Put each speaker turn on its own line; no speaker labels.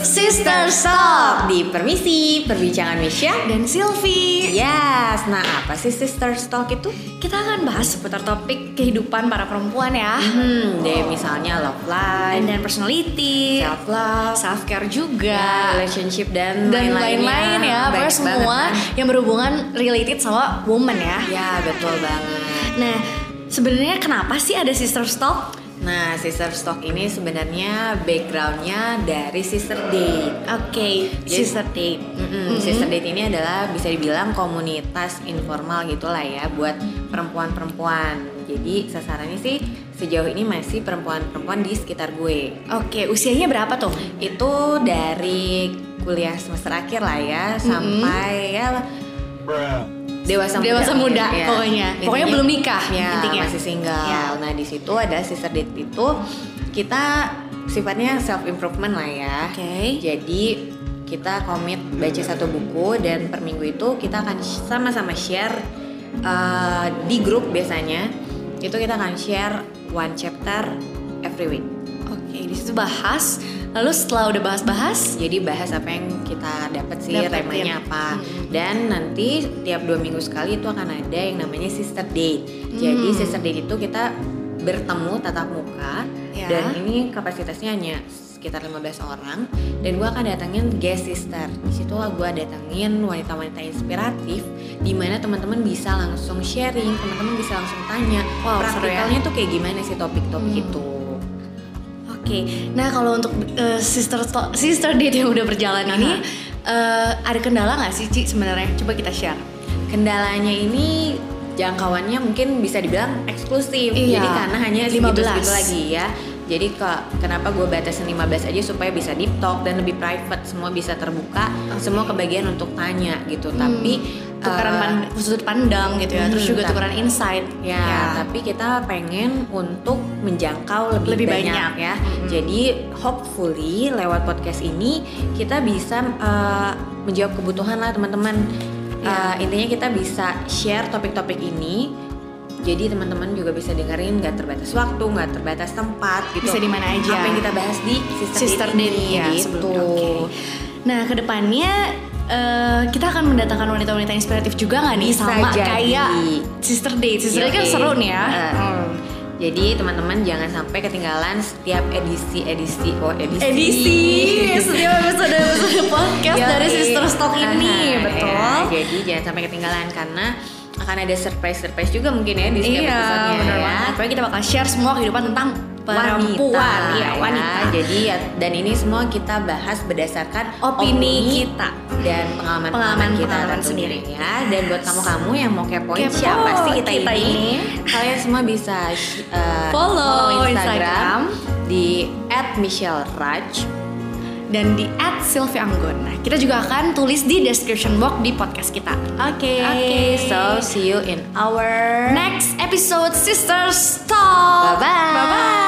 Sister Stop di Permisi Perbincangan Misha
dan Silvi.
Yes, nah apa sih Sister Talk itu?
Kita akan bahas ya. seputar topik kehidupan para perempuan ya.
Hmm, deh misalnya love
Dan
life,
dan personality,
self love,
self care
ya,
juga.
relationship dan
dan
lain-lainnya.
lain-lain ya,
Banyak
pokoknya
banget,
semua
kan?
yang berhubungan related sama woman ya.
Ya betul banget.
Nah, sebenarnya kenapa sih ada sister stop?
Nah, Sister Talk ini sebenarnya backgroundnya dari Sister Date.
Oke,
Jadi-
sister date.
Mm-mm, Sister Date ini adalah bisa dibilang komunitas informal gitulah ya buat perempuan-perempuan. Jadi sasarannya sih sejauh ini masih perempuan-perempuan di sekitar gue.
Oke, usianya berapa tuh?
Itu dari kuliah semester akhir lah ya sampai ya dewasa muda.
Dewasa muda,
Ya,
pokoknya.
intinya-
Pokoknya belum nikah,
Ya,
intinya.
masih single.
Ya.
Nah, di situ ada Sister Date itu kita sifatnya self improvement lah ya.
Oke.
Jadi kita komit baca satu buku dan per minggu itu kita akan sh- sama-sama share uh, di grup biasanya itu kita akan share one chapter every week.
Oke, di situ bahas. Lalu setelah udah bahas-bahas,
Jadi bahas apa yang kita dapat sih
Dapetin.
temanya apa
Hmm.
dan nanti tiap dua minggu sekali itu akan ada yang namanya sister date. Jadi
Hmm.
sister date itu kita bertemu tatap muka
Ya.
dan ini kapasitasnya hanya sekitar 15 orang dan gua akan datangin guest sister. Di situ gua datangin wanita-wanita inspiratif di mana teman-teman bisa langsung sharing, teman-teman bisa langsung tanya
Wow, seru ya.
praktikalnya tuh kayak gimana sih topik-topik
Hmm.
itu.
Oke, nah kalau untuk eh, sister to- sister date yang udah berjalan ini eh, ada kendala nggak sih Ci sebenarnya? Coba kita share.
kendalanya ini jangkauannya mungkin bisa dibilang eksklusif
Iya.
jadi karena hanya
15.
segitu segitu lagi ya jadi ke, kenapa gue batasin 15 aja supaya bisa deep talk dan lebih private semua bisa terbuka semua kebagian untuk tanya gitu tapi
Hmm. tukaran
eh,
pan- sudut pandang gitu ya, terus
hmm,
juga
tapi-
tukaran insight.
Ya,
Iya.
tapi kita pengen untuk menjangkau
Lebih
lebih, banyak,
banyak.
ya.
Mm-mm.
Jadi hopefully lewat podcast ini kita bisa uh, menjawab kebutuhan lah teman-teman.
Ya.
Uh, intinya kita bisa share topik-topik ini. Jadi teman-teman juga bisa dengerin nggak terbatas waktu, nggak terbatas tempat gitu.
Bisa di mana aja.
Apa yang kita bahas di Sister,
sister
Date
date
ini,
ya
gitu.
sebelum- oke. Nah, kedepannya eh, kita akan mendatangkan wanita-wanita inspiratif juga nggak nih
Bisa
sama
jadi.
kayak sister date. Sister date kan
Yoi.
seru nih ya.
Heeh. Jadi teman-teman jangan sampai ketinggalan setiap edisi edisi oh edisi
Edisi setiap episode episode podcast
Yoi.
dari Sister Stock ini,
Aha,
betul.
ya, jadi jangan sampai ketinggalan karena akan ada surprise surprise juga mungkin ya di setiap
Iya,
episodenya
benar
ya.
banget. Pokoknya kita bakal share semua kehidupan tentang perempuan,
Wanita,
iya wanita.
ya. Jadi ya, dan ini semua kita bahas berdasarkan
Opini kita.
dan pengalaman-pengalaman kita
Pengalaman-pengalaman
tentunya
sendiri.
ya. Dan buat kamu-kamu yang mau kepoin
Kepo
siapa sih kita,
kita
ini,
ini.
kalian semua bisa sh- uh,
Follow Instagram.
di @michelleraj.
dan di @sylviaanggun. Nah, kita juga akan tulis di description box di podcast kita.
Oke, so see you in our
Next episode Sisters Talk.
Bye-bye.
Bye bye.